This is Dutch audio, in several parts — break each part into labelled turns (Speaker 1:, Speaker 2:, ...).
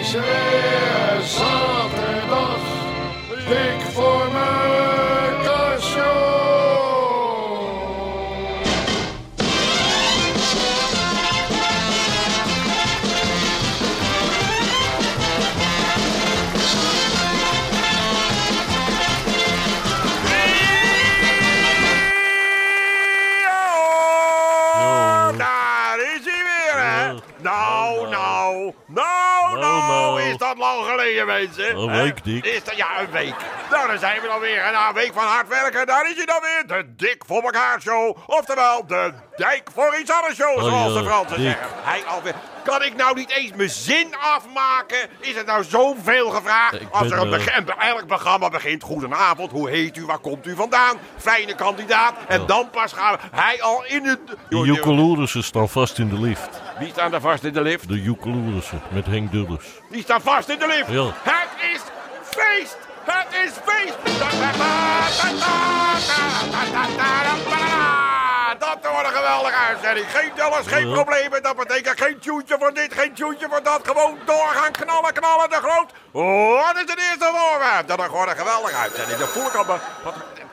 Speaker 1: is weer zaterdag. Dik voor mijn kastje.
Speaker 2: Ja,
Speaker 3: Daar is hij weer, hè?
Speaker 2: Ja.
Speaker 3: Nou,
Speaker 2: Nou,
Speaker 3: nou, nou,
Speaker 2: Nou,
Speaker 3: nou,
Speaker 2: nou.
Speaker 3: is dat lang geleden, mensen?
Speaker 2: Een
Speaker 3: hè?
Speaker 2: week, Dick.
Speaker 3: Is dat, ja, een week. Nou, daar zijn we dan weer. En na een week van hard werken, daar is hij dan weer. De Dik voor elkaar show. Oftewel, de Dijk voor iets anders show,
Speaker 2: Oh,
Speaker 3: zoals
Speaker 2: ja,
Speaker 3: de Fransen
Speaker 2: Dick.
Speaker 3: zeggen. Hij alweer. Kan ik nou niet eens mijn zin afmaken? Is het nou zoveel gevraagd?
Speaker 2: Ik
Speaker 3: Als
Speaker 2: ben,
Speaker 3: er een
Speaker 2: eh,
Speaker 3: begin- en elk programma begint. Goedenavond, hoe heet u, waar komt u vandaan? Fijne kandidaat. En dan pas gaan we. Hij al in het...
Speaker 2: De Joekeloerissen staan vast in de lift.
Speaker 3: Die staan daar vast in de lift.
Speaker 2: De Joekeloerissen met Henk Dulles.
Speaker 3: Die staan vast in de lift.
Speaker 2: Ja.
Speaker 3: Het is feest. Het is feest. Da, da, da, da, da, da, da, da, da, da, da. Dat wordt een geweldige uitzending. Geen tellers, geen
Speaker 2: Ja.
Speaker 3: problemen. Dat betekent geen tuintje voor dit, geen tuintje voor dat. Gewoon doorgaan, knallen, knallen, de groot. Wat is het eerste voorwerp? Dat wordt een geweldige uitzending. Dat voel ik al me.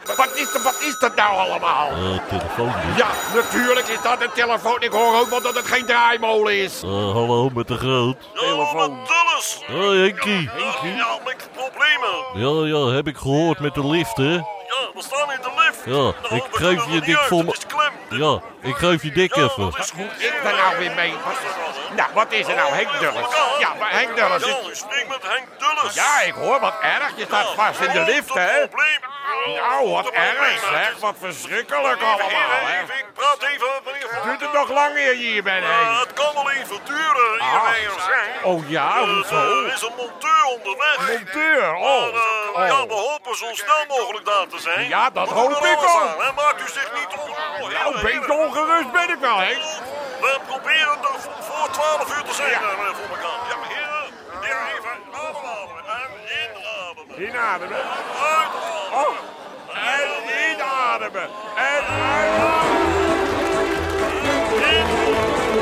Speaker 3: Wat, wat, is, dat- wat is dat nou allemaal?
Speaker 2: Eh, telefoon Dick.
Speaker 3: Ja, natuurlijk is dat een telefoon. Ik hoor ook wel dat het geen draaimolen is.
Speaker 2: Eh, hallo met de groot.
Speaker 3: Telefoon.
Speaker 2: Hoi Henkie.
Speaker 4: Oh, Ja, met problemen.
Speaker 2: Ja, ja, heb ik gehoord met de lift, hè?
Speaker 4: Ja, we staan in de lift.
Speaker 2: Ja,
Speaker 4: Nou,
Speaker 2: ik
Speaker 4: we
Speaker 2: geef
Speaker 4: kunnen
Speaker 2: je
Speaker 4: er
Speaker 2: dik
Speaker 4: niet uit,
Speaker 2: voor
Speaker 4: het
Speaker 2: me-
Speaker 4: is klem.
Speaker 2: Ja, ik geef je dik
Speaker 4: Ja,
Speaker 2: even.
Speaker 4: dat is goed.
Speaker 3: Ik ben nou weer mee. Wat is er? Nou, wat is er nou? Henk Dulles. Ja, maar Henk Dulles is...
Speaker 4: Ja, ik spreek met Henk Dulles.
Speaker 3: Ja, ik hoor wat erg. Je staat vast in de lift, hè? Nou, wat erg, zeg. Wat verschrikkelijk allemaal, hè?
Speaker 4: Even, ik praat even, meneer Van
Speaker 3: Duurt het nog lang eer je hier bent,
Speaker 4: Eh,
Speaker 3: Henk?
Speaker 4: Het kan wel even duren, hier
Speaker 3: Ah.
Speaker 4: meneer.
Speaker 3: Oh ja,
Speaker 4: Eh,
Speaker 3: hoezo?
Speaker 4: Er is een monteur onderweg.
Speaker 3: Monteur,
Speaker 4: Maar,
Speaker 3: oh.
Speaker 4: eh, Ja, we
Speaker 3: oh.
Speaker 4: hopen zo snel mogelijk daar te zijn.
Speaker 3: Ja, dat
Speaker 4: We doen
Speaker 3: hoop
Speaker 4: er
Speaker 3: ik
Speaker 4: alles
Speaker 3: ook.
Speaker 4: aan, hè. Maakt u zich niet ongerust.
Speaker 3: Nou, een beetje ongerust ben ik wel, Henk.
Speaker 4: We proberen er voor- voor 12 uur te zijn,
Speaker 3: Ja.
Speaker 4: eh, voor elkaar. Ja, heren, heren, even ademen en inademen.
Speaker 3: Inademen.
Speaker 4: Uitademen.
Speaker 3: Oh. En inademen. En uitademen.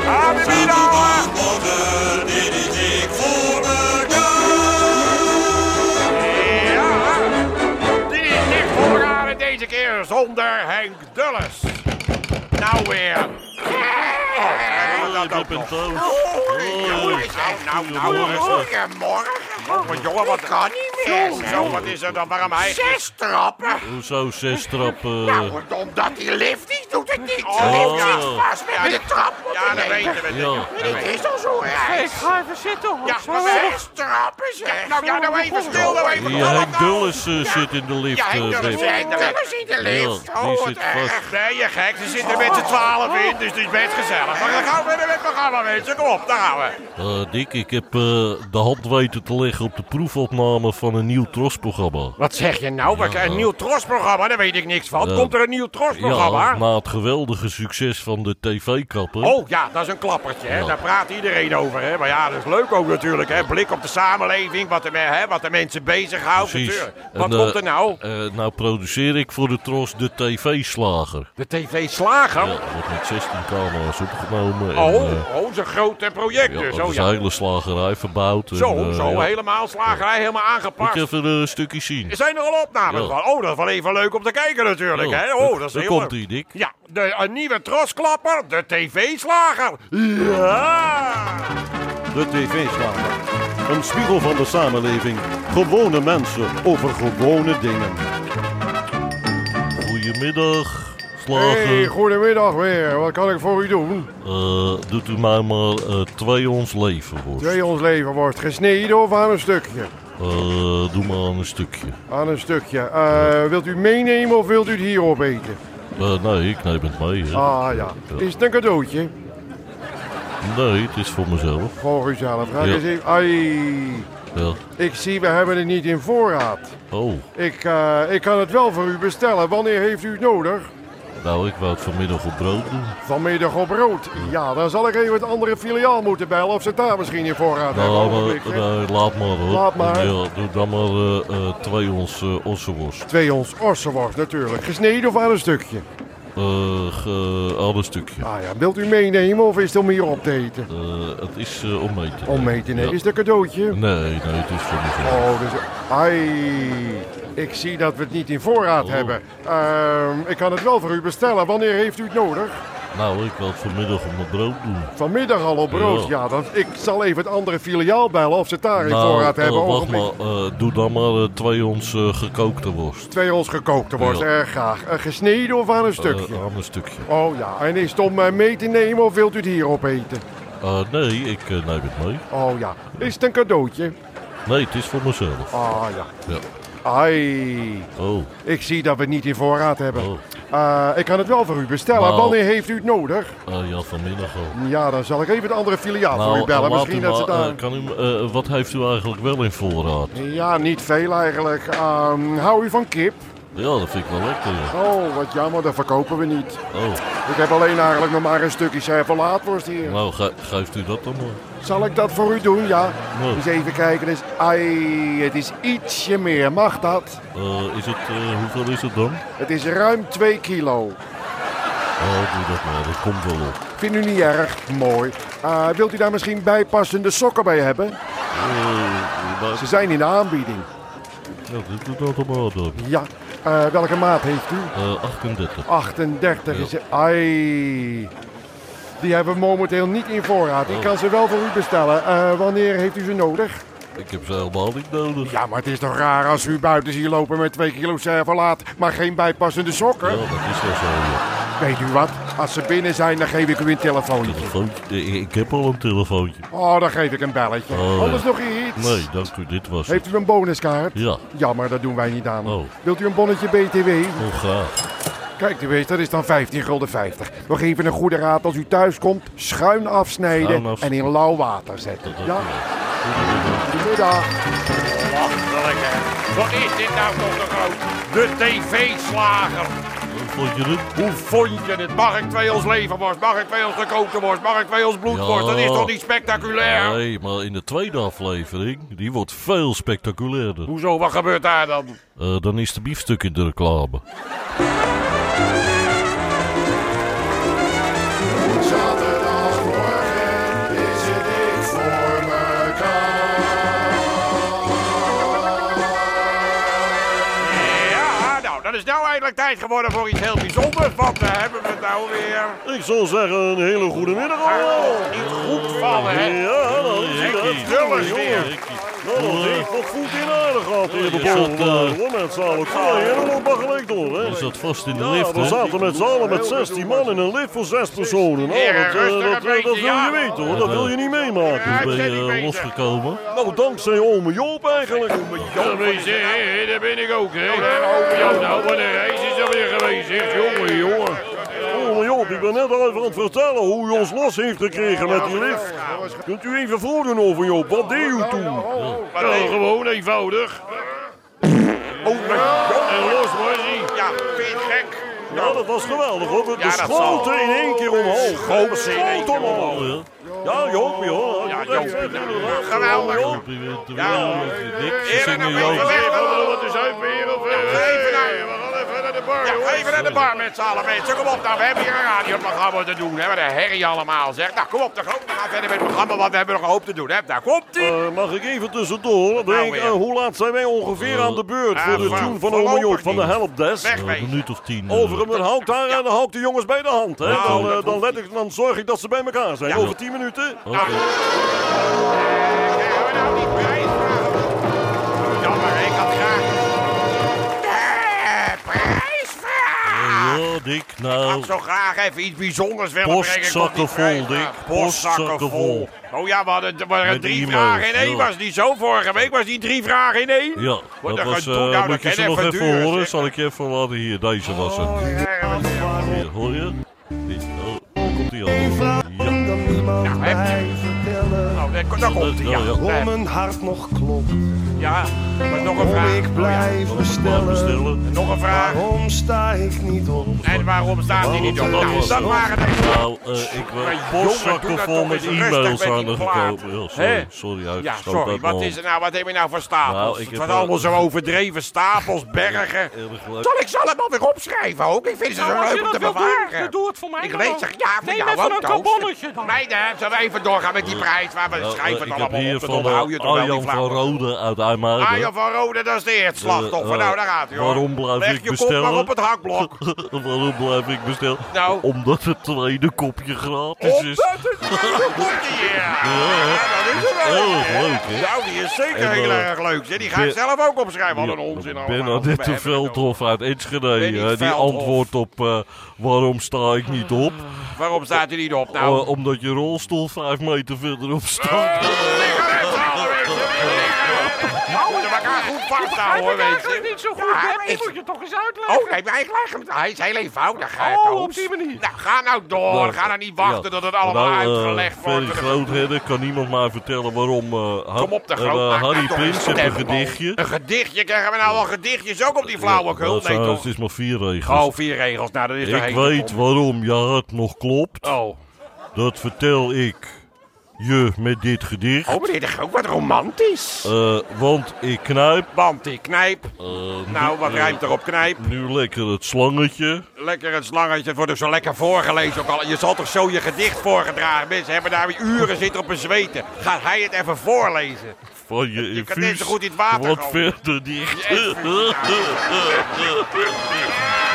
Speaker 3: Adem inademen. Ja, dit is Dick Voorraad en deze keer zonder Henk Dulles. Nou weer. Oh,
Speaker 2: Eh,
Speaker 3: dat
Speaker 2: ik
Speaker 3: ook
Speaker 2: ben
Speaker 3: nog.
Speaker 2: thuis.
Speaker 3: Goeie, nou, nou, nou, goedemorgen. Jongen, jongen, wat kan niet meer? Zo, wat is er dan? Waarom hij... Zes trappen?
Speaker 2: Hoezo zes trappen? eh,
Speaker 3: omdat die lift niet doet het niet.
Speaker 2: De lift zit
Speaker 3: vast met de trap. Oh. Ja, dat weten we.
Speaker 2: Ja,
Speaker 3: Het is al zo raar.
Speaker 5: Ik ga even zitten, hoor.
Speaker 3: Ja, maar zes trappen, zeg. Nou ja, nou even stil, nou even.
Speaker 2: die Henk Dulles eh, zit in de lift.
Speaker 3: Ja,
Speaker 2: eh,
Speaker 3: Henk Dulles,
Speaker 2: Beb.
Speaker 3: Henk Dulles in de lift.
Speaker 2: Ja,
Speaker 3: Oh,
Speaker 2: die
Speaker 3: wat
Speaker 2: zit
Speaker 3: erg.
Speaker 2: vast.
Speaker 3: Nee, je gek, ze zitten met z'n twaalf in, dus het is best gezellig. Maar dan gaan we weer met het programma, mensen. Kom op, daar gaan we.
Speaker 2: Eh, Dick, ik heb eh, de hand weten te leggen op de proefopname van een nieuw trosprogramma.
Speaker 3: Wat zeg je nou? Wat, een nieuw trosprogramma, daar weet ik niks van.
Speaker 2: Eh,
Speaker 3: Komt er een nieuw trosprogramma?
Speaker 2: Ja, na het geweldige succes van de tv-kapper.
Speaker 3: Oh ja, dat is een klappertje. Hè?
Speaker 2: Ja.
Speaker 3: Daar praat iedereen over. Hè? Maar ja, dat is leuk ook natuurlijk. Hè? Blik op de samenleving, wat de, me- hè? Wat de mensen bezighoudt. natuurlijk. Wat
Speaker 2: En,
Speaker 3: komt
Speaker 2: eh,
Speaker 3: er nou?
Speaker 2: eh, nou produceer ik voor de Tros de TV-slager.
Speaker 3: De tv-slager?
Speaker 2: Ja, er wordt met 16 camera's opgenomen.
Speaker 3: Oh,
Speaker 2: en, eh,
Speaker 3: oh, zo'n groot eh, project
Speaker 2: ja,
Speaker 3: dus.
Speaker 2: dat
Speaker 3: Oh,
Speaker 2: is
Speaker 3: ja.
Speaker 2: een hele slagerij verbouwd. en,
Speaker 3: Zo,
Speaker 2: eh,
Speaker 3: zo,
Speaker 2: ja.
Speaker 3: helemaal slagerij, helemaal
Speaker 2: Moet
Speaker 3: aangepast.
Speaker 2: je even eh, een stukje zien.
Speaker 3: Zijn er al opnames
Speaker 2: Ja.
Speaker 3: van? Oh, dat is wel even leuk om te kijken natuurlijk.
Speaker 2: Ja,
Speaker 3: Hè?
Speaker 2: daar-
Speaker 3: Oh, dat is
Speaker 2: daar
Speaker 3: heel
Speaker 2: komt
Speaker 3: leuk.
Speaker 2: ie, Dick.
Speaker 3: Ja, de, een nieuwe trosklapper, de tv-slager. Ja!
Speaker 6: De tv-slager. Een spiegel van de samenleving. Gewone mensen over gewone dingen.
Speaker 2: Goedemiddag, slager.
Speaker 1: Hey, goedemiddag weer. Wat kan ik voor u doen?
Speaker 2: Eh, doet u mij maar eh, twee ons leven, worst.
Speaker 1: Twee ons leven wordt gesneden of aan een stukje?
Speaker 2: Eh, doe maar aan een stukje.
Speaker 1: Aan een stukje. Eh, wilt u meenemen of wilt u het hier opeten?
Speaker 2: Eh, nee, ik neem het mee. hè.
Speaker 1: Ah ja. Is het een cadeautje?
Speaker 2: Nee, het is voor mezelf.
Speaker 1: Voor uzelf. Ga ik
Speaker 2: Ja.
Speaker 1: eens even. Ai.
Speaker 2: Ja.
Speaker 1: Ik zie, we hebben het niet in voorraad.
Speaker 2: Oh,
Speaker 1: Ik, eh, ik kan het wel voor u bestellen. Wanneer heeft u het nodig?
Speaker 2: nou, ik wou het vanmiddag op brood doen.
Speaker 1: Vanmiddag op rood. Ja, dan zal ik even het andere filiaal moeten bellen of ze het daar misschien in voorraad hebben.
Speaker 2: Nou, maar,
Speaker 1: Ogenblik, hè.
Speaker 2: nee, laat maar hoor.
Speaker 1: Laat maar.
Speaker 2: Ja, doe dan maar eh, eh, twee ons eh ossenworst.
Speaker 1: Twee ons ossenworst natuurlijk. Gesneden of aan een stukje?
Speaker 2: eh, ge- aan een stukje.
Speaker 1: Ah ja, wilt u meenemen of is het om hier op te eten?
Speaker 2: Eh, het is eh, om mee te nemen.
Speaker 1: Om mee te nemen.
Speaker 2: Ja.
Speaker 1: Is het een cadeautje?
Speaker 2: Nee, nee, het is voor mezelf.
Speaker 1: Oh, dus... Ai, ik zie dat we het niet in voorraad
Speaker 2: Oh.
Speaker 1: hebben. Ehm, ik kan het wel voor u bestellen. Wanneer heeft u het nodig?
Speaker 2: Nou, ik wil het vanmiddag op mijn brood doen.
Speaker 1: Vanmiddag al op brood.
Speaker 2: Ja.
Speaker 1: Ja, dan, ik zal even het andere filiaal bellen of ze het daar in
Speaker 2: nou,
Speaker 1: voorraad hebben.
Speaker 2: eh, wacht
Speaker 1: Ogenblik.
Speaker 2: maar. eh, doe dan maar eh, twee ons eh, gekookte worst.
Speaker 1: Twee ons gekookte worst,
Speaker 2: Ja.
Speaker 1: erg graag. Eh, gesneden of aan een stukje?
Speaker 2: Eh, aan een stukje.
Speaker 1: Oh ja, en is het om eh, mee te nemen of wilt u het hier opeten?
Speaker 2: Eh, nee, ik eh, neem het mee.
Speaker 1: Oh ja, is het een cadeautje?
Speaker 2: Nee, het is voor mezelf.
Speaker 1: Ah ja.
Speaker 2: Ja.
Speaker 1: Ai,
Speaker 2: Oh,
Speaker 1: ik zie dat we het niet in voorraad hebben.
Speaker 2: Oh.
Speaker 1: Eh, ik kan het wel voor u bestellen.
Speaker 2: Nou.
Speaker 1: Wanneer heeft u het nodig?
Speaker 2: eh, ja, vanmiddag al.
Speaker 1: Ja, dan zal ik even het andere filiaal voor u bellen.
Speaker 2: eh, laat
Speaker 1: Misschien
Speaker 2: u
Speaker 1: dat ze
Speaker 2: maar,
Speaker 1: daar...
Speaker 2: eh, kan u, eh, wat heeft u eigenlijk wel in voorraad?
Speaker 1: Ja, niet veel eigenlijk. Ehm, hou u van kip?
Speaker 2: Ja, dat vind ik wel lekker. ja.
Speaker 1: Oh, wat jammer, dat verkopen we niet.
Speaker 2: Oh,
Speaker 1: Ik heb alleen eigenlijk nog maar een stukje servolaatworst hier.
Speaker 2: nou, ge- geeft u dat dan maar.
Speaker 1: Zal ik dat voor u doen, ja?
Speaker 2: Nou.
Speaker 1: Eens even kijken. Dus, ai, het is ietsje meer. Mag dat?
Speaker 2: Eh, is het, eh, hoeveel is het dan?
Speaker 1: Het is ruim 2 kilo.
Speaker 2: Oh, doe dat maar, dat komt wel op.
Speaker 1: Vindt u niet erg? Mooi. Eh, wilt u daar misschien bijpassende sokken bij hebben?
Speaker 2: Eh, maar-
Speaker 1: Ze zijn in de aanbieding.
Speaker 2: Ja, dit doet dat allemaal dan.
Speaker 1: Ja. Eh, welke maat heeft u?
Speaker 2: Eh, 38.
Speaker 1: 38 is
Speaker 2: Ja.
Speaker 1: Ai. Die hebben we momenteel niet in voorraad. Ik kan ze wel voor u bestellen. Eh, wanneer heeft u ze nodig?
Speaker 2: Ik heb ze helemaal niet nodig.
Speaker 1: Ja, maar het is toch raar als u buiten ziet lopen met 2 kilo servolaat, maar geen bijpassende sokken?
Speaker 2: Ja, dat is wel zo. Ja.
Speaker 1: Weet u wat? Als ze binnen zijn, dan geef ik u een telefoontje.
Speaker 2: Telefoontje- eh, ik heb al een telefoontje.
Speaker 1: Oh, dan geef ik een belletje.
Speaker 2: Oh,
Speaker 1: Anders
Speaker 2: ja.
Speaker 1: nog iets?
Speaker 2: Nee, dank u, dit was het.
Speaker 1: Heeft u een bonuskaart?
Speaker 2: Ja,
Speaker 1: Jammer, dat doen wij niet aan.
Speaker 2: Oh.
Speaker 1: Wilt u een bonnetje BTW?
Speaker 2: heel graag.
Speaker 1: Kijk, u weet, dat is dan 15 gulden 50. We geven een goede raad als u thuis komt. Schuin afsnijden
Speaker 2: Schuin afsnijden.
Speaker 1: en in lauw water zetten. Ja, goedemiddag.
Speaker 3: Achterlijk, hè. Wat is dit nou toch een groot? De tv-slager.
Speaker 2: Hoe vond je het?
Speaker 3: Hoe vond je dit? Mag ik twee ons leverworst? Mag ik twee ons gekookte worst? Mag ik twee ons bloedworst?
Speaker 2: Ja.
Speaker 3: Dat is toch niet spectaculair?
Speaker 2: Nee, maar in de tweede aflevering, die wordt veel spectaculairder.
Speaker 3: Hoezo? Wat gebeurt daar dan?
Speaker 2: Eh, dan is de biefstuk in de reclame.
Speaker 1: Zaterdagmorgen is het iets voor
Speaker 3: Ja, nou, dat is nou eindelijk tijd geworden voor iets heel bijzonders. Wat eh, hebben we het nou weer?
Speaker 6: Ik zou zeggen, een hele goede middag allemaal.
Speaker 3: Oh, Niet goed vallen, hè?
Speaker 6: Ja, dat is het.
Speaker 3: Henkie,
Speaker 6: hè.
Speaker 3: Dulles
Speaker 6: Jongen,
Speaker 3: weer.
Speaker 2: Henkie.
Speaker 6: Nou, dat
Speaker 2: Eh,
Speaker 6: heeft nog goed in aarde gehad hier de
Speaker 2: je zat, eh,
Speaker 6: boven. Hoor, met z'n allen. Kooi, helemaal baggelekt hoor, hè.
Speaker 2: Je zat vast in de
Speaker 6: Ja,
Speaker 2: lift,
Speaker 6: we
Speaker 2: hè?
Speaker 6: Nou, zaten met z'n allen met 16 man in een lift voor 6 personen. Nou,
Speaker 3: Heren,
Speaker 6: dat, eh,
Speaker 3: rustig een
Speaker 6: dat, eh,
Speaker 3: beetje,
Speaker 6: dat wil
Speaker 3: ja.
Speaker 6: je weten hoor, dat wil je niet meemaken.
Speaker 3: Ja, ik
Speaker 2: Ben
Speaker 3: ben
Speaker 2: je
Speaker 3: niet
Speaker 2: eh,
Speaker 3: bezig.
Speaker 2: losgekomen?
Speaker 6: Nou, dankzij ome Joop eigenlijk.
Speaker 3: Ja, wees, hè, hè, daar ben ik ook, hè? Ja, nou, wat een reis is er weer geweest, zeg. Jongen, jongen.
Speaker 6: Ome Joop, ik ben net al even aan het vertellen hoe u ons los heeft gekregen met die lift. Kunt u even voordoen over Joop, wat deed u toen?
Speaker 3: Nou, gewoon eenvoudig.
Speaker 6: Oh, mijn god.
Speaker 3: En los was hij. Ja, vind je het gek?
Speaker 6: Ja, dat was geweldig hoor. De, de
Speaker 3: Ja, dat
Speaker 6: schoten
Speaker 3: zal.
Speaker 6: in één keer omhoog.
Speaker 3: Schoten in één
Speaker 6: Schoten
Speaker 3: keer
Speaker 6: omhoog.
Speaker 2: Oh ja.
Speaker 6: Ja, Joopie hoor.
Speaker 3: Ja,
Speaker 6: Ja,
Speaker 3: Joopie, geweldig.
Speaker 6: Joop.
Speaker 2: Op je weer te
Speaker 3: Ja.
Speaker 2: weer, met je dik. Ze
Speaker 3: Heren,
Speaker 2: zingen
Speaker 3: nou, even
Speaker 2: jou.
Speaker 3: weg.
Speaker 4: Wat is hij weer? Of,
Speaker 3: Even naar-
Speaker 4: even naar de bar,
Speaker 3: Ja, even naar de bar met z'n allen, mensen. Kom op nou, we hebben hier een radioprogramma te doen. Hè, met een herrie allemaal, zeg. Nou, kom op, dan gaan we gaan verder met het programma, want we hebben nog een hoop te doen. Hè. Daar komt ie.
Speaker 6: Eh, mag ik even
Speaker 2: Nou
Speaker 6: tussendoor? Denk,
Speaker 3: weer.
Speaker 6: eh, hoe laat zijn wij ongeveer aan de beurt
Speaker 3: eh,
Speaker 6: voor de
Speaker 3: voor-
Speaker 2: Ah,
Speaker 6: tune van
Speaker 3: voorlopig
Speaker 6: Ome Joop van de
Speaker 3: niet.
Speaker 6: helpdesk?
Speaker 3: Weg
Speaker 2: Eh,
Speaker 3: mee.
Speaker 2: Een minuut of tien. eh.
Speaker 6: Overigens, houdt daar en dan houdt de jongens bij de hand. Hè?
Speaker 3: Nou,
Speaker 6: Dan, eh,
Speaker 3: dat
Speaker 6: dan,
Speaker 3: hoeft
Speaker 6: let ik, dan zorg ik dat ze bij elkaar zijn. Over 10 minuten.
Speaker 2: Oké.
Speaker 3: Krijgen we nou die prijsvragen? Jammer, ik had graag... De prijsvraag!
Speaker 2: Ja, Dick,
Speaker 3: Ik had
Speaker 2: Oh,
Speaker 6: Ah.
Speaker 2: nou.
Speaker 3: zo graag even iets bijzonders willen brengen. Ik
Speaker 2: Postzakken
Speaker 3: kon niet krijgen.
Speaker 2: vol, Dick. Postzakken
Speaker 3: Postzakken vol. Oh ja, we hadden, we hadden
Speaker 2: Met
Speaker 3: drie
Speaker 2: e-mails,
Speaker 3: vragen in één.
Speaker 2: ja.
Speaker 3: Was die zo vorige week? Was die drie vragen in één?
Speaker 2: Ja,
Speaker 3: Wat
Speaker 2: dat
Speaker 3: een
Speaker 2: was.
Speaker 3: gedoe.
Speaker 2: eh,
Speaker 3: Nou,
Speaker 2: moet je
Speaker 3: dat
Speaker 2: ze
Speaker 3: kan
Speaker 2: nog
Speaker 3: even
Speaker 2: even
Speaker 3: duren,
Speaker 2: horen?
Speaker 3: zeg.
Speaker 2: Zal ik je even laten hier? Deze was het.
Speaker 3: Oh, Ja,
Speaker 2: oh, Hier, hoor je? Dit, oh, komt ie al. Ja.
Speaker 3: Nou, hè.
Speaker 5: tellen.
Speaker 3: Nou, daar, daar komt hij. Ja.
Speaker 2: Ja, ja.
Speaker 5: Om
Speaker 3: Nee,
Speaker 5: mijn hart nog klopt,
Speaker 3: ja, maar nog een
Speaker 5: om
Speaker 3: vraag. Oh
Speaker 5: ik blijf bestellen.
Speaker 2: bestellen.
Speaker 3: Nog een vraag.
Speaker 5: Waarom sta ik niet op?
Speaker 3: En waarom staat hij niet op? Nou, dat waren de...
Speaker 2: Nou, eh, ik
Speaker 3: Maar
Speaker 2: ben
Speaker 3: jongen, doe
Speaker 2: postzakken
Speaker 3: dat
Speaker 2: vol
Speaker 3: toch
Speaker 2: met
Speaker 3: eens rustig
Speaker 2: e-mails
Speaker 3: met die
Speaker 2: aangekomen.
Speaker 3: plaat.
Speaker 2: Ja, sorry,
Speaker 3: Hè?
Speaker 2: sorry,
Speaker 3: Ja,
Speaker 2: uitgestoot
Speaker 3: sorry.
Speaker 2: uit
Speaker 3: Wat,
Speaker 2: mijn
Speaker 3: is er nou, wat heb je nou voor stapels?
Speaker 2: Nou, ik
Speaker 3: het
Speaker 2: heb
Speaker 3: wordt
Speaker 2: wel-
Speaker 3: allemaal zo overdreven. Stapels, bergen.
Speaker 2: hand. Erg leuk.
Speaker 3: Zal ik ze allemaal weer opschrijven ook? Ik vind ze zo
Speaker 7: Nou, als je
Speaker 3: leuk om
Speaker 7: dat
Speaker 3: te
Speaker 7: wil
Speaker 3: bewaren.
Speaker 7: doen, dan doe het voor mij
Speaker 3: Ik
Speaker 7: dan
Speaker 3: lees
Speaker 7: ook.
Speaker 3: er ja voor
Speaker 7: Neem
Speaker 3: jou
Speaker 7: even
Speaker 3: ook,
Speaker 7: een
Speaker 3: Toos.
Speaker 7: tamponnetje dan.
Speaker 3: Meiden, zullen we even doorgaan met die prijs? Waar we
Speaker 2: Nou, eh,
Speaker 3: schrijven het
Speaker 2: ik heb
Speaker 3: allemaal
Speaker 2: hier
Speaker 3: op. Dan
Speaker 2: van
Speaker 3: onthoud
Speaker 2: eh,
Speaker 3: je toch wel die
Speaker 2: Arjan van
Speaker 3: flauwe.
Speaker 2: Rode uit IJmuiden.
Speaker 3: Arjan van Rode, dat is de
Speaker 2: Eh,
Speaker 3: eerstslachtoffer.
Speaker 2: eh,
Speaker 3: Nou, daar gaat hij hoor.
Speaker 2: waarom blijf
Speaker 3: Leg
Speaker 2: ik
Speaker 3: je
Speaker 2: bestellen?
Speaker 3: kop maar op het hakblok.
Speaker 2: Waarom blijf ik bestellen?
Speaker 3: Nou.
Speaker 2: Omdat het tweede kopje gratis
Speaker 3: Op
Speaker 2: is.
Speaker 3: dat is een kopje, ja. Ja, Dat is er wel.
Speaker 2: Erg
Speaker 3: hè.
Speaker 2: leuk, hè?
Speaker 3: Nou, die is zeker
Speaker 2: En,
Speaker 3: heel
Speaker 2: eh,
Speaker 3: erg leuk. zeg. Die ga ik
Speaker 2: Ben-
Speaker 3: zelf ook opschrijven. Wat een onzin allemaal.
Speaker 2: Bernadette
Speaker 3: We hebben het
Speaker 2: Veldhof uit Enschede.
Speaker 3: Benny
Speaker 2: eh, die
Speaker 3: Veldhof.
Speaker 2: antwoordt op eh, waarom sta ik niet op.
Speaker 3: over- Waarom staat hij niet op? Nou,
Speaker 2: Eh, omdat je rolstoel vijf meter verderop staat.
Speaker 3: Nou, we elkaar goed vasthouden, hoor,
Speaker 7: Begrijp
Speaker 3: weet
Speaker 7: ik eigenlijk
Speaker 3: je.
Speaker 7: niet zo goed,
Speaker 3: Ja,
Speaker 7: hè?
Speaker 3: maar
Speaker 7: Ik
Speaker 3: ik-
Speaker 7: moet je toch eens uitleggen.
Speaker 3: Oh, nee, maar ik leg hem... Hij is heel eenvoudig, hè,
Speaker 7: Oh,
Speaker 3: Toos.
Speaker 7: op die manier.
Speaker 3: Nou, ga nou door. Ga nou niet wachten
Speaker 2: Ja.
Speaker 3: tot het allemaal
Speaker 2: Nou, eh,
Speaker 3: uitgelegd wordt.
Speaker 2: Ferry Grootherder, kan niemand mij vertellen waarom eh, Har-
Speaker 3: Kom op, de
Speaker 2: eh,
Speaker 3: groot. maak
Speaker 2: Harry
Speaker 3: nou toch
Speaker 2: Prins heeft
Speaker 3: stem,
Speaker 2: een
Speaker 3: man.
Speaker 2: gedichtje.
Speaker 3: Een gedichtje? Krijgen we nou al gedichtjes ook op die flauwekul?
Speaker 2: Dat
Speaker 3: Nee,
Speaker 2: zijn-
Speaker 3: toch?
Speaker 2: Eh, Het is maar vier regels.
Speaker 3: Oh, vier regels. Nou, dat is er
Speaker 2: ik
Speaker 3: één.
Speaker 2: weet waarom je hart nog klopt.
Speaker 3: Oh.
Speaker 2: Dat vertel ik je met dit gedicht.
Speaker 3: Oh, meneer de Groot, wat romantisch.
Speaker 2: Eh, want ik knijp.
Speaker 3: Want ik knijp.
Speaker 2: eh,
Speaker 3: Nou,
Speaker 2: nu-
Speaker 3: wat
Speaker 2: eh,
Speaker 3: rijmt er op knijp?
Speaker 2: Nu lekker het slangetje.
Speaker 3: Lekker het slangetje. Het wordt er zo lekker voorgelezen ook al. Je zal toch zo je gedicht voorgedragen? Mensen hebben daar weer uren zitten op een zweten. Gaat hij het even voorlezen?
Speaker 2: Van je infuus.
Speaker 3: kan net zo goed in het water
Speaker 2: Wat
Speaker 3: gooien.
Speaker 2: verder dicht.
Speaker 3: Je infuus,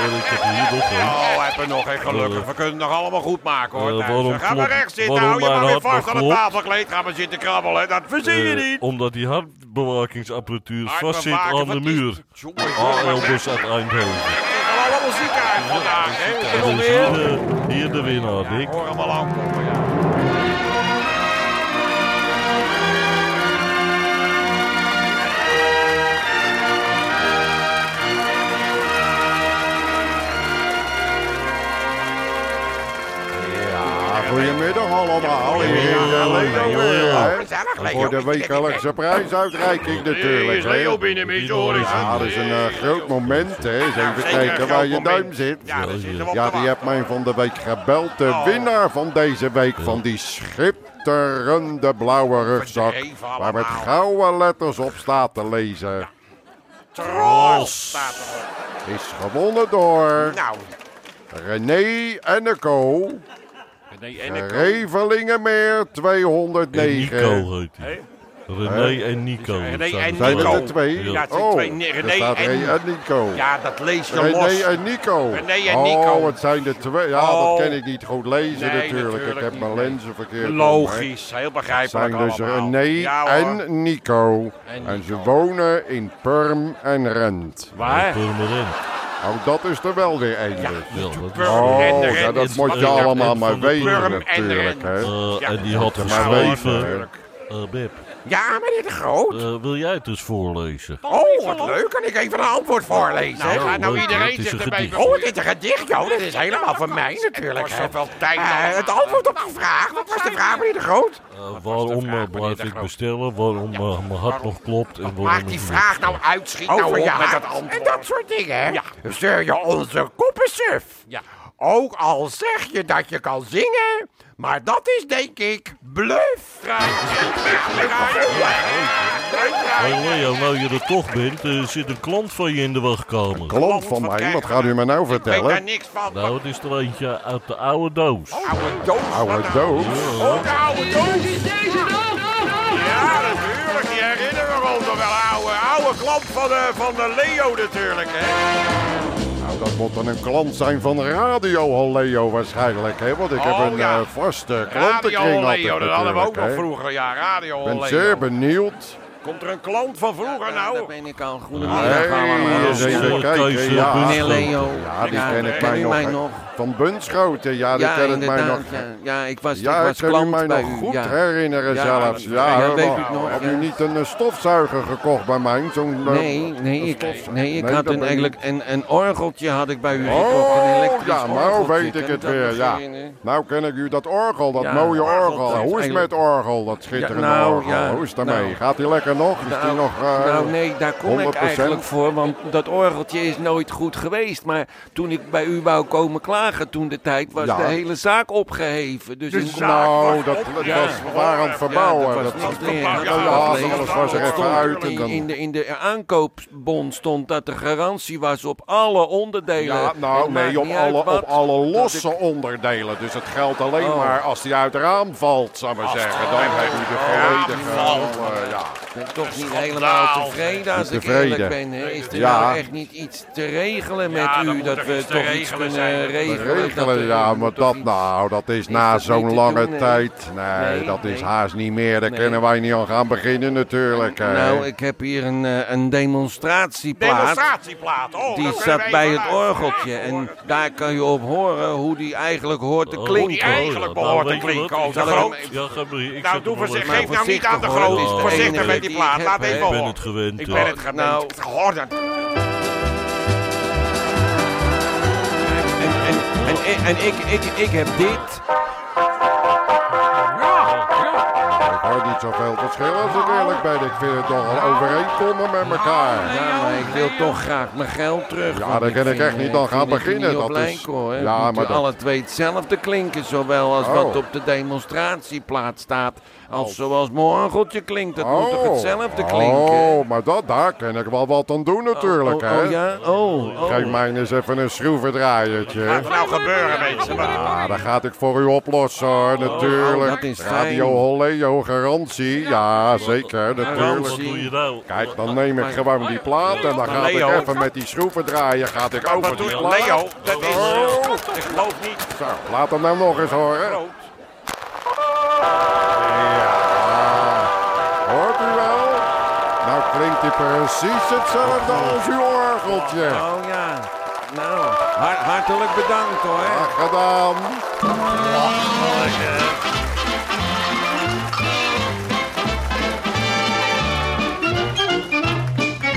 Speaker 2: en ik heb hier nog een.
Speaker 3: Oh, heb er nog geen gelukkig. We kunnen het nog allemaal goed maken hoor.
Speaker 2: Eh,
Speaker 3: thuis. Ga
Speaker 2: waarom
Speaker 3: maar
Speaker 2: klopt-
Speaker 3: recht zitten.
Speaker 2: waarom
Speaker 3: Hou je maar
Speaker 2: mijn
Speaker 3: weer
Speaker 2: hart nog
Speaker 3: vast aan het
Speaker 2: klopt?
Speaker 3: tafelkleed. Ga maar zitten krabbelen. Dat verzin je
Speaker 2: Eh,
Speaker 3: niet.
Speaker 2: omdat die hartbewakingsapparatuur vastzit
Speaker 3: Hartbewaken,
Speaker 2: aan
Speaker 3: wat
Speaker 2: de
Speaker 3: is-
Speaker 2: muur.
Speaker 3: Jongen,
Speaker 2: AL
Speaker 3: jongen,
Speaker 2: dus uit Eindhoven.
Speaker 3: Het is wel allemaal ziekenhuis vandaag. hè? Ik
Speaker 2: En
Speaker 3: bedoel,
Speaker 2: dus
Speaker 3: weer.
Speaker 2: hier de, hier de winnaar, Dick.
Speaker 3: Hoor hem al aankomen, ja.
Speaker 1: Ja, Ah, goedemiddag allemaal.
Speaker 3: Ja,
Speaker 1: Heerlijk,
Speaker 3: ja,
Speaker 1: hoor.
Speaker 3: ja.
Speaker 1: Hè?
Speaker 3: Gezellig, Leo.
Speaker 1: Voor de wekelijkse prijsuitreiking natuurlijk. hè.
Speaker 3: binnen,
Speaker 2: mis, hoor.
Speaker 1: Ja, dat is een eh, groot moment, hè. Eens
Speaker 3: Ja,
Speaker 1: even
Speaker 3: zeker een
Speaker 1: kijken
Speaker 3: groot
Speaker 1: waar je
Speaker 3: moment.
Speaker 1: duim zit.
Speaker 3: Ja, daar zitten we op
Speaker 1: Ja,
Speaker 3: te
Speaker 1: die
Speaker 3: wachten.
Speaker 1: hebt mij van de week gebeld. De
Speaker 3: Oh.
Speaker 1: winnaar van deze week van die schitterende blauwe rugzak.
Speaker 3: Verdreven
Speaker 1: Waar met
Speaker 3: allemaal.
Speaker 1: gouden letters op staat te lezen.
Speaker 3: Tros staat erop.
Speaker 1: Is gewonnen door
Speaker 3: Nou,
Speaker 1: René Enneco.
Speaker 3: nee, en ik
Speaker 1: Revelingenmeer
Speaker 2: En
Speaker 1: 209.
Speaker 2: Nico heet hij. René en Nico.
Speaker 3: René
Speaker 2: zijn
Speaker 3: en
Speaker 2: de
Speaker 1: Zijn het
Speaker 3: Nico.
Speaker 1: er twee?
Speaker 2: Ja,
Speaker 3: het zijn
Speaker 1: oh,
Speaker 3: twee. Nee,
Speaker 1: er
Speaker 3: René
Speaker 1: staat
Speaker 3: en-
Speaker 1: René en Nico.
Speaker 3: Ja, dat lees je
Speaker 1: René
Speaker 3: los.
Speaker 1: en Nico.
Speaker 3: René en
Speaker 1: oh,
Speaker 3: Nico.
Speaker 1: het zijn de twee. Ja,
Speaker 3: Oh.
Speaker 1: dat kan ik niet goed lezen
Speaker 3: Nee,
Speaker 1: natuurlijk.
Speaker 3: natuurlijk
Speaker 1: Ik heb
Speaker 3: niet,
Speaker 1: mijn
Speaker 3: nee.
Speaker 1: lenzen verkeerd. om, hè.
Speaker 3: Logisch, heel
Speaker 1: Het
Speaker 3: begrijpelijk
Speaker 1: zijn dus
Speaker 3: allemaal.
Speaker 1: René
Speaker 3: Ja, hoor.
Speaker 1: en, Nico. en
Speaker 3: Nico.
Speaker 1: ze wonen in Perm en Rent.
Speaker 3: Waar?
Speaker 2: Purmerend.
Speaker 1: Oh, dat is er wel weer één. dus.
Speaker 2: Ja, dat is-
Speaker 3: Purm
Speaker 1: Oh,
Speaker 3: en de
Speaker 1: ja,
Speaker 3: Rent
Speaker 1: dat
Speaker 3: is-
Speaker 1: moet
Speaker 3: wat
Speaker 1: je
Speaker 3: ik dacht,
Speaker 1: allemaal
Speaker 2: van
Speaker 1: maar
Speaker 2: de
Speaker 1: weten
Speaker 3: Purm en de
Speaker 1: natuurlijk.
Speaker 3: Rent.
Speaker 1: Hè.
Speaker 2: Eh,
Speaker 3: Ja,
Speaker 2: en die had
Speaker 1: Dat is maar
Speaker 2: geschreven...
Speaker 1: weten.
Speaker 2: eh Beb,
Speaker 3: Ja, meneer de Groot.
Speaker 2: eh, wil jij het eens voorlezen?
Speaker 3: Oh, wat leuk. Kan ik even een antwoord voorlezen? Nou,
Speaker 2: gaat nou leuk, iedereen dat is zich een erbij gedicht. bemoeien.
Speaker 3: Oh, het is een gedicht, joh. Dat is helemaal van mij natuurlijk. hè. Eh, het antwoord op de vraag. Wat was de vraag, meneer de Groot?
Speaker 2: Eh, waarom eh, blijf ik bestellen? Waarom eh, mijn hart nog klopt? En waarom
Speaker 3: Maak die
Speaker 2: ik
Speaker 3: vraag
Speaker 2: niet-
Speaker 3: nou uit, schiet nou in je
Speaker 7: met
Speaker 3: hart.
Speaker 7: dat antwoord.
Speaker 3: En dat soort dingen, hè? Ja. Zeur je onze koppen suf? Ja. Ook al zeg je dat je kan zingen, maar dat is denk ik bluf.
Speaker 2: Hey Leo, nou je er toch bent, er zit een klant van je in de wachtkamer.
Speaker 1: Klant van mij,
Speaker 3: Wat krijgen
Speaker 1: wat
Speaker 3: we
Speaker 1: gaat u me nou
Speaker 3: Ik weet daar
Speaker 1: vertellen?
Speaker 3: niks van.
Speaker 2: Nou, het is er eentje uit de oude doos.
Speaker 3: Oude doos.
Speaker 1: Oude
Speaker 3: wat nou?
Speaker 1: dood.
Speaker 3: Oh, de oude doos. Ja, natuurlijk. Die herinneren we ons nog wel. Oude, oude klant van, de, van de Leo natuurlijk, hè.
Speaker 1: Nou, dat moet dan een klant zijn van Radio Holleo waarschijnlijk, hè? Want ik
Speaker 3: Oh,
Speaker 1: heb een
Speaker 3: ja.
Speaker 1: eh, vaste klantenkring
Speaker 3: Radio
Speaker 1: altijd
Speaker 3: Leo, dat hadden we ook nog
Speaker 1: natuurlijk, hè.
Speaker 3: vroeger. Ja, Radio
Speaker 1: Ik ben
Speaker 3: Leo.
Speaker 1: zeer benieuwd
Speaker 3: Komt er een klant van vroeger
Speaker 7: Daar
Speaker 3: nou?
Speaker 7: ben ik al. Goedemiddag
Speaker 1: Hey,
Speaker 7: allemaal.
Speaker 1: is even
Speaker 2: Zonder
Speaker 1: kijken,
Speaker 2: Keizer,
Speaker 1: ja.
Speaker 2: Buntschoten.
Speaker 7: Meneer Leo.
Speaker 1: Ja, die
Speaker 7: eh, Ja,
Speaker 1: ken ik
Speaker 7: ken
Speaker 1: mij
Speaker 7: u
Speaker 1: nog.
Speaker 7: mij
Speaker 1: hè.
Speaker 7: nog?
Speaker 1: Van Bunschoten, ja, die ken ik mij nog.
Speaker 7: Ja, ja, ik was,
Speaker 1: Ja,
Speaker 7: ik
Speaker 1: ik
Speaker 7: was
Speaker 1: kan u
Speaker 7: klant
Speaker 1: mij
Speaker 7: bij
Speaker 1: nog
Speaker 7: u.
Speaker 1: goed
Speaker 7: ja.
Speaker 1: herinneren
Speaker 7: Ja,
Speaker 1: zelfs.
Speaker 7: ja,
Speaker 1: Ja,
Speaker 7: ja,
Speaker 1: hoor,
Speaker 7: weet
Speaker 1: maar
Speaker 7: u het nog,
Speaker 1: Heb
Speaker 7: ja.
Speaker 1: u niet een eh, stofzuiger gekocht bij mij? Zo'n, eh,
Speaker 7: Nee, nee, ik, nee, ik
Speaker 1: Nee,
Speaker 7: had
Speaker 1: dat
Speaker 7: een,
Speaker 1: ben
Speaker 7: eigenlijk een, een orgeltje had ik bij u
Speaker 1: Oh,
Speaker 7: gekocht. Een elektrisch
Speaker 1: ja, nou
Speaker 7: orgeltje,
Speaker 1: weet ik
Speaker 7: kent
Speaker 1: het
Speaker 7: dat
Speaker 1: weer,
Speaker 7: nog
Speaker 1: ja.
Speaker 7: geen, hè?
Speaker 1: Nou ken ik u dat orgel, dat
Speaker 7: Ja,
Speaker 1: mooie
Speaker 7: orgel,
Speaker 1: orgel.
Speaker 7: dat is
Speaker 1: Hoe is het met
Speaker 7: eigenlijk-
Speaker 1: orgel, dat schitterende
Speaker 7: Ja, nou,
Speaker 1: orgel?
Speaker 7: ja,
Speaker 1: Hoe is het daarmee?
Speaker 7: nou.
Speaker 1: Gaat die lekker nog? Is die
Speaker 7: Nou,
Speaker 1: nog... eh,
Speaker 7: nou nee, daar kom ik
Speaker 1: 100%?
Speaker 7: eigenlijk voor, want dat orgeltje is nooit goed geweest. Maar toen ik bij u wou komen klagen toen de tijd, was
Speaker 1: Ja.
Speaker 7: de hele zaak opgeheven. Dus in-
Speaker 1: Nou, dat, dat
Speaker 7: Ja.
Speaker 1: was waar aan het verbouwen. Nou,
Speaker 7: Ja, dat
Speaker 1: dat
Speaker 7: was niks meer.
Speaker 1: ja,
Speaker 7: Dat
Speaker 1: ja,
Speaker 7: was
Speaker 1: alles
Speaker 7: leeg.
Speaker 1: was er
Speaker 7: Dat
Speaker 1: even
Speaker 7: stond
Speaker 1: uit. En
Speaker 7: in-
Speaker 1: dan,
Speaker 7: In de, in de aankoopbon stond dat er garantie was op alle onderdelen.
Speaker 1: ja, nou
Speaker 7: Het maakt
Speaker 1: nee, op
Speaker 7: niet uit
Speaker 1: alle,
Speaker 7: wat,
Speaker 1: op alle
Speaker 7: dat
Speaker 1: losse
Speaker 7: ik-
Speaker 1: onderdelen. Dus het geldt alleen
Speaker 7: Oh.
Speaker 1: maar als die uit de raam valt, zou ik maar zeggen. Dan heb je de volledige... eh, ja.
Speaker 7: Ik ben toch niet helemaal tevreden als ik
Speaker 1: Tevreden.
Speaker 7: eerlijk ben. Hè. Is er
Speaker 1: Ja.
Speaker 7: nou echt niet iets te regelen met
Speaker 3: Ja, dan
Speaker 7: u
Speaker 3: moet
Speaker 7: dat
Speaker 3: er
Speaker 7: we
Speaker 3: iets te
Speaker 7: toch iets
Speaker 3: regelen
Speaker 7: kunnen
Speaker 3: zijn.
Speaker 7: regelen? dat
Speaker 1: Regelen,
Speaker 7: er-
Speaker 1: ja,
Speaker 7: er
Speaker 1: maar
Speaker 7: moet toch
Speaker 1: dat
Speaker 7: iets-
Speaker 1: nou, dat is
Speaker 7: is
Speaker 1: na
Speaker 7: dat niet
Speaker 1: zo'n
Speaker 7: te
Speaker 1: lange
Speaker 7: doen, hè?
Speaker 1: tijd. Nee,
Speaker 7: Nee,
Speaker 1: dat is
Speaker 7: nee.
Speaker 1: haast niet meer. Daar
Speaker 7: Nee.
Speaker 1: kunnen wij niet aan gaan beginnen natuurlijk. hè.
Speaker 7: Nou, ik heb hier een, eh, een demonstratieplaat.
Speaker 3: Demonstratieplaat. Oh,
Speaker 7: Die
Speaker 3: dan kunnen we
Speaker 7: zat bij
Speaker 3: even
Speaker 7: het
Speaker 3: laten
Speaker 7: orgeltje.
Speaker 3: horen.
Speaker 7: En daar kan je op horen hoe die eigenlijk hoort te
Speaker 2: Oh,
Speaker 7: klinken.
Speaker 3: Die eigenlijk behoort te
Speaker 7: Nou,
Speaker 2: weet je
Speaker 3: klinken,
Speaker 2: wat?
Speaker 3: oh, de
Speaker 2: Ik-
Speaker 7: groot.
Speaker 2: Ja, ga maar hier. Ik
Speaker 3: Nou,
Speaker 2: zet
Speaker 3: doe
Speaker 2: hem wel
Speaker 3: voorzichtig.
Speaker 2: even-
Speaker 3: Geef nou niet aan de
Speaker 7: voorzichtig,
Speaker 2: Het
Speaker 7: hoor.
Speaker 2: is
Speaker 3: groot.
Speaker 2: de
Speaker 3: Voorzichtig
Speaker 2: enige
Speaker 3: met
Speaker 7: die
Speaker 3: die
Speaker 7: ik
Speaker 3: plaat.
Speaker 7: heb,
Speaker 3: Laat
Speaker 7: hè.
Speaker 3: even
Speaker 7: Ik
Speaker 2: Ik ben
Speaker 3: horen.
Speaker 2: het gewend.
Speaker 3: Ik
Speaker 2: hè.
Speaker 3: ben het gewend.
Speaker 7: Nou.
Speaker 3: Ik Hoor dat.
Speaker 7: En, en, en, en, ik, ik, ik heb dit.
Speaker 1: Ik hoor niet zoveel verschil als ik eerlijk ben. Ik vind het toch al overeenkomen met elkaar.
Speaker 7: Ja, maar ik wil toch graag mijn geld terug.
Speaker 1: Ja,
Speaker 7: want
Speaker 1: daar kan ik
Speaker 7: vind,
Speaker 1: echt niet
Speaker 7: eh,
Speaker 1: aan
Speaker 7: ik
Speaker 1: gaan
Speaker 7: vind het
Speaker 1: beginnen,
Speaker 7: niet op
Speaker 1: dat is-
Speaker 7: lijken, hoor. Het
Speaker 1: Ja,
Speaker 7: moeten
Speaker 1: maar dat-
Speaker 7: alle twee hetzelfde klinken. Zowel als
Speaker 1: Oh.
Speaker 7: wat op de demonstratieplaat staat. Als zoals mijn orgeltje klinkt. Dat moet toch hetzelfde klinken?
Speaker 1: Oh, maar dat, daar kan ik wel wat aan doen natuurlijk,
Speaker 7: Oh,
Speaker 1: hè.
Speaker 7: oh, ja? Oh, oh.
Speaker 1: Geef mij eens even een schroevendraaiertje.
Speaker 3: Wat er nou gebeuren, mensen?
Speaker 1: Ja, dat gaat ik voor u oplossen hoor, natuurlijk.
Speaker 7: Oh, dat is fijn.
Speaker 1: Radio Holleo garantie. Ja, zeker,
Speaker 2: Nou,
Speaker 1: natuurlijk.
Speaker 2: wat doe je nou?
Speaker 1: Kijk, dan neem ik gewoon die plaat en dan ga ik
Speaker 3: Leo.
Speaker 1: even met die schroevendraaier gaat ik over
Speaker 3: Wat
Speaker 1: die
Speaker 3: doet
Speaker 1: plaat.
Speaker 3: Leo? Dat is...
Speaker 1: Oh.
Speaker 3: Ik geloof niet.
Speaker 1: Zo, laat hem nou nog eens horen.
Speaker 3: Groot.
Speaker 1: Ja, hoort u wel? Nou klinkt hij precies hetzelfde als uw orgeltje.
Speaker 7: Oh ja. Nou, har- hartelijk bedankt hoor.
Speaker 1: Graag gedaan.
Speaker 3: Ja,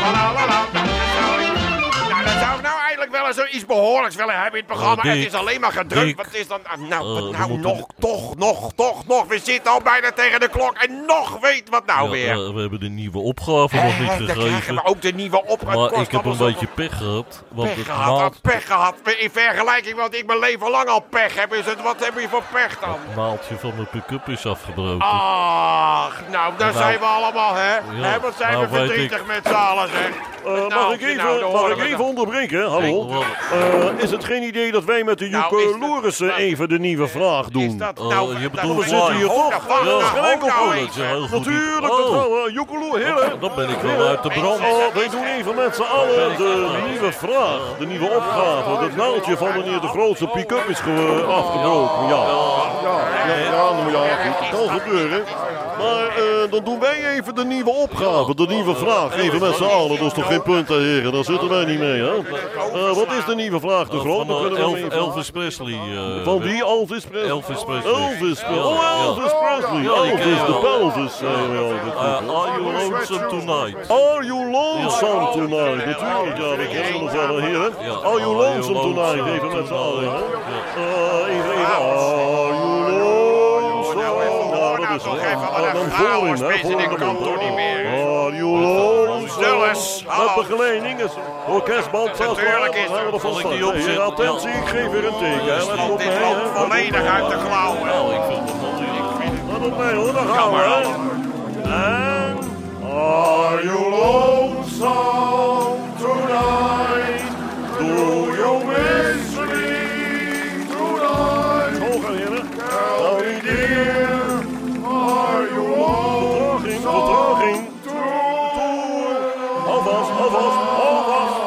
Speaker 3: la, la, la, la. Dat zou ik- Nou, dan zou ik nou eigenlijk wel eens iets behoorlijks willen hebben in het programma.
Speaker 2: Oh, Dick.
Speaker 3: het is alleen maar gedrukt.
Speaker 2: Dick.
Speaker 3: Wat is dan... ah, Nou, wat
Speaker 2: Eh, we
Speaker 3: nou
Speaker 2: moeten-
Speaker 3: nog, toch, nog, toch, nog. We zitten al bijna tegen de klok en nog weet wat nou
Speaker 2: Ja,
Speaker 3: weer.
Speaker 2: eh, we hebben de nieuwe opgave nog
Speaker 3: Eh,
Speaker 2: niet
Speaker 3: dan krijgen we
Speaker 2: gegeven.
Speaker 3: ook de nieuwe op. het
Speaker 2: Maar
Speaker 3: kost
Speaker 2: ik heb
Speaker 3: allemaal
Speaker 2: een
Speaker 3: zoveel
Speaker 2: beetje pech gehad. Want
Speaker 3: Pech
Speaker 2: het
Speaker 3: gehad,
Speaker 2: maalt,
Speaker 3: ah, pech gehad. In vergelijking wat ik mijn leven lang al pech heb, is het wat heb je voor pech dan?
Speaker 2: het maaltje van mijn pick-up is afgebroken.
Speaker 3: Ah, Ach, nou, daar
Speaker 2: Nou.
Speaker 3: zijn we allemaal, hè? Hè, wat zijn
Speaker 2: nou
Speaker 3: we
Speaker 2: weet
Speaker 3: verdrietig met z'n allen, zeg.
Speaker 6: Eh,
Speaker 3: Nou,
Speaker 6: mag ik
Speaker 3: nou,
Speaker 6: even,
Speaker 3: dan
Speaker 6: mag
Speaker 3: horen
Speaker 6: ik
Speaker 3: we
Speaker 6: even
Speaker 3: dat.
Speaker 6: onderbreken? Hallo?
Speaker 2: Kijk,
Speaker 6: Eh, is het geen idee dat wij met de Joep
Speaker 3: Nou, is dat-
Speaker 6: eh, Lorissen
Speaker 3: nou,
Speaker 6: even de nieuwe vraag doen?
Speaker 3: Is dat
Speaker 2: Oh,
Speaker 3: nou...
Speaker 2: je
Speaker 3: dat-
Speaker 2: bedoelt
Speaker 3: dat-
Speaker 6: We zitten hier
Speaker 2: Oh,
Speaker 6: toch?
Speaker 3: Nou, wacht,
Speaker 2: Ja,
Speaker 3: nou,
Speaker 6: Eh, gelijk
Speaker 3: nou
Speaker 6: op
Speaker 3: even.
Speaker 2: dat is een heel goed idee.
Speaker 6: Natuurlijk, dat
Speaker 2: Oh.
Speaker 6: wel. eh, Joekeloe, heren.
Speaker 2: Dan ben ik wel uit de brand.
Speaker 6: Oh, wij doen even met z'n allen de nieuwe vraag, de nieuwe opgave. Dat naaldje van meneer de Grootste pick-up is ge- afgebroken, ja. Ja, ja, nou ja, goed, dat kan gebeuren. Maar eh, dan doen wij even de nieuwe opgave, de nieuwe vraag. Even met z'n allen, dat is toch geen punt, hè, heren? Daar zitten wij niet mee, hè? Eh, wat is de nieuwe vraag, de Groot?
Speaker 2: Van
Speaker 6: Dan
Speaker 2: eh,
Speaker 6: kunnen we hem
Speaker 2: Elv-
Speaker 6: even-
Speaker 2: Elvis Presley. eh,
Speaker 6: Van
Speaker 2: weg.
Speaker 6: wie? Elvis Presley?
Speaker 2: Elvis Presley.
Speaker 6: Elvis Presley.
Speaker 2: Ja,
Speaker 6: Oh,
Speaker 2: ja.
Speaker 6: Elvis Presley.
Speaker 2: Ja, die ken
Speaker 6: Elvis
Speaker 2: je
Speaker 6: de
Speaker 2: wel.
Speaker 6: Pelvis. eh, zei wel altijd goed, hè.
Speaker 2: Eh, are you lonesome tonight?
Speaker 6: Are Oh, you lonesome tonight? Natuurlijk, ja, dat kennen we nog wel, heren.
Speaker 2: Ja.
Speaker 6: Are you lonesome tonight? Even met z'n allen, hè. Eh, even, even. Are you lonesome? Nou, dat is
Speaker 3: Nog
Speaker 6: het.
Speaker 3: even wat
Speaker 6: Ah, Dan
Speaker 3: een
Speaker 6: voor in, hè.
Speaker 3: vrouwenspits in
Speaker 6: Voor
Speaker 3: de
Speaker 6: in de
Speaker 3: kant, hoor, niet meer.
Speaker 6: Are Oh, you lonesome?
Speaker 3: Stil eens, hallo.
Speaker 6: Met begeleiding is orkestband vast.
Speaker 3: Natuurlijk is dat.
Speaker 6: dat.
Speaker 2: Zal ik die opzetten?
Speaker 6: Attentie, ik geef weer een teken. hè. Let op
Speaker 3: Dit
Speaker 6: mij,
Speaker 3: loopt
Speaker 6: hè.
Speaker 3: volledig uit de klauwen.
Speaker 6: Let op mij, hoor. Daar gaan we, hè. En... Are you lonesome tonight? Do you miss me tonight? Hoger, heren. Tell me, dear, are you lonesome? Vertraging, vertraging. Alvast, alvast, alvast.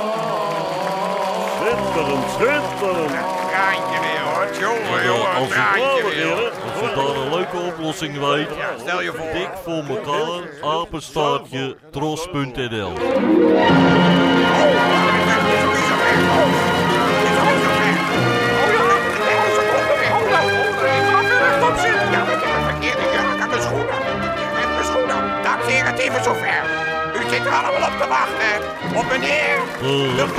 Speaker 6: Schitterend, schitterend.
Speaker 3: Kraantje weer, hoor. Jongen, jongen,
Speaker 2: als
Speaker 3: een
Speaker 2: ik-
Speaker 3: kraantje
Speaker 6: Geweldig,
Speaker 3: weer. hoor.
Speaker 6: heren.
Speaker 2: Ik vind dat een leuke oplossing. oplossing weet,
Speaker 3: Stel je voor.
Speaker 2: dik voor elkaar, apenstaartje, tros.nl.
Speaker 3: Even zover. U zit er allemaal op te wachten. Op meneer. De
Speaker 2: Eh, Hallo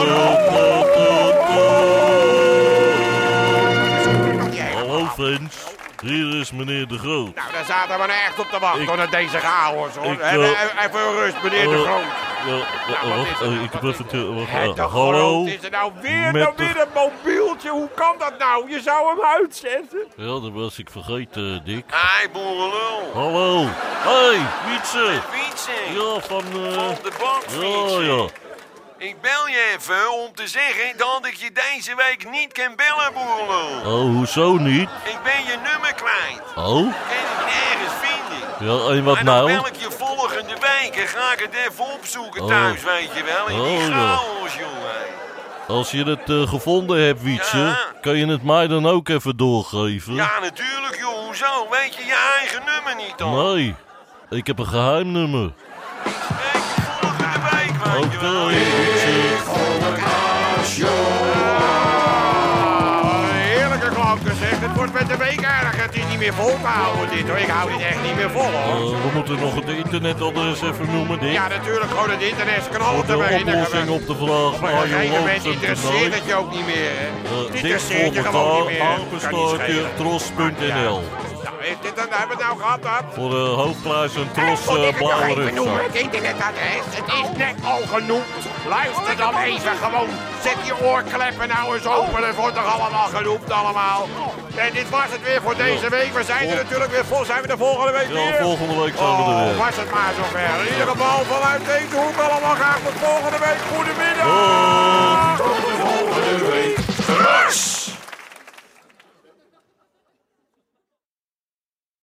Speaker 3: verloop.
Speaker 2: fans, hier is meneer De Groot.
Speaker 3: Nou, daar zaten we nou echt op te
Speaker 2: Ik-
Speaker 3: wachten. hoor, naar deze chaos, hoor.
Speaker 2: Ik, eh,
Speaker 3: Even, even rust, meneer de
Speaker 2: Eh,
Speaker 3: Groot. Nou,
Speaker 2: ja, eh,
Speaker 3: wat
Speaker 2: wacht,
Speaker 3: is het?
Speaker 2: eh, ik heb even... te- wacht,
Speaker 3: Het
Speaker 2: eh,
Speaker 3: toch
Speaker 2: Hallo?
Speaker 3: groot is er nou weer,
Speaker 2: Met
Speaker 3: nou
Speaker 2: de-
Speaker 3: weer een mobieltje. Hoe kan dat nou? Je zou hem uitzetten.
Speaker 2: Ja, dat was ik vergeten, Dick.
Speaker 7: Hai, boerenlul.
Speaker 2: Hallo. Hey, Wietse.
Speaker 7: Fietsen.
Speaker 2: Ja, van... eh
Speaker 7: Van de bank
Speaker 2: ja,
Speaker 7: fietsen.
Speaker 2: ja.
Speaker 7: Ik bel je even om te zeggen dat ik je deze week niet kan bellen, boerenlul.
Speaker 2: Oh, hoezo niet?
Speaker 7: Ik ben je nummer kwijt.
Speaker 2: Oh?
Speaker 7: Kan ik nergens vinden.
Speaker 2: Ja, en wat
Speaker 7: En dan
Speaker 2: nou?
Speaker 7: bel ik je volgende week en ga ik het even opzoeken
Speaker 2: Oh.
Speaker 7: thuis, weet je wel. In
Speaker 2: Oh,
Speaker 7: die
Speaker 2: ja.
Speaker 7: chaos, jongen.
Speaker 2: Als je het eh, gevonden hebt, Wietse,
Speaker 7: Ja.
Speaker 2: kan je het mij dan ook even doorgeven?
Speaker 7: Ja, natuurlijk, joh. Hoezo? Weet je je eigen nummer niet dan?
Speaker 2: Nee, ik heb een geheim nummer.
Speaker 7: Kijk, volgende week,
Speaker 2: Oké,
Speaker 7: weet je wel.
Speaker 2: Wietse.
Speaker 3: Heerlijke klanken, zeg. Het wordt met de week erg. Het is niet meer vol te houden, dit, hoor. Ik hou dit echt niet meer vol, hoor.
Speaker 2: Eh, we moeten nog het internetadres even noemen, Dick.
Speaker 3: Ja, natuurlijk. Gewoon het internet knallen
Speaker 2: Voor
Speaker 3: te
Speaker 2: de
Speaker 3: weinig.
Speaker 2: oplossing op de vraag.
Speaker 3: Maar op een gegeven moment interesseert
Speaker 2: Arjen
Speaker 3: het je ook niet meer, hè. Het
Speaker 2: Dick
Speaker 3: interesseert je gewoon niet
Speaker 2: Volmetaal,
Speaker 3: meer. Kan niet
Speaker 2: apenstaartje,
Speaker 3: schelen.
Speaker 2: tros.nl.
Speaker 3: Nou, heeft dit dan, hebben we het nou gehad, hè?
Speaker 2: Voor de hoofdprijs een tros
Speaker 3: Moet ik
Speaker 2: eh
Speaker 3: het nog
Speaker 2: blauwe
Speaker 3: even noemen,
Speaker 2: rugzak.
Speaker 3: het internetadres? Het is net al genoemd. Luister dan even gewoon. Zet je oorkleppen nou eens open. Het wordt toch allemaal genoemd allemaal. En dit was het weer voor deze week. We zijn er natuurlijk weer vol. Zijn we de volgende week
Speaker 2: Ja,
Speaker 3: weer?
Speaker 2: volgende week zijn we er
Speaker 3: Oh,
Speaker 2: weer.
Speaker 3: was het maar zover. In ieder geval vanuit deze hoek allemaal graag tot volgende week. Goedemiddag.
Speaker 2: Hoi.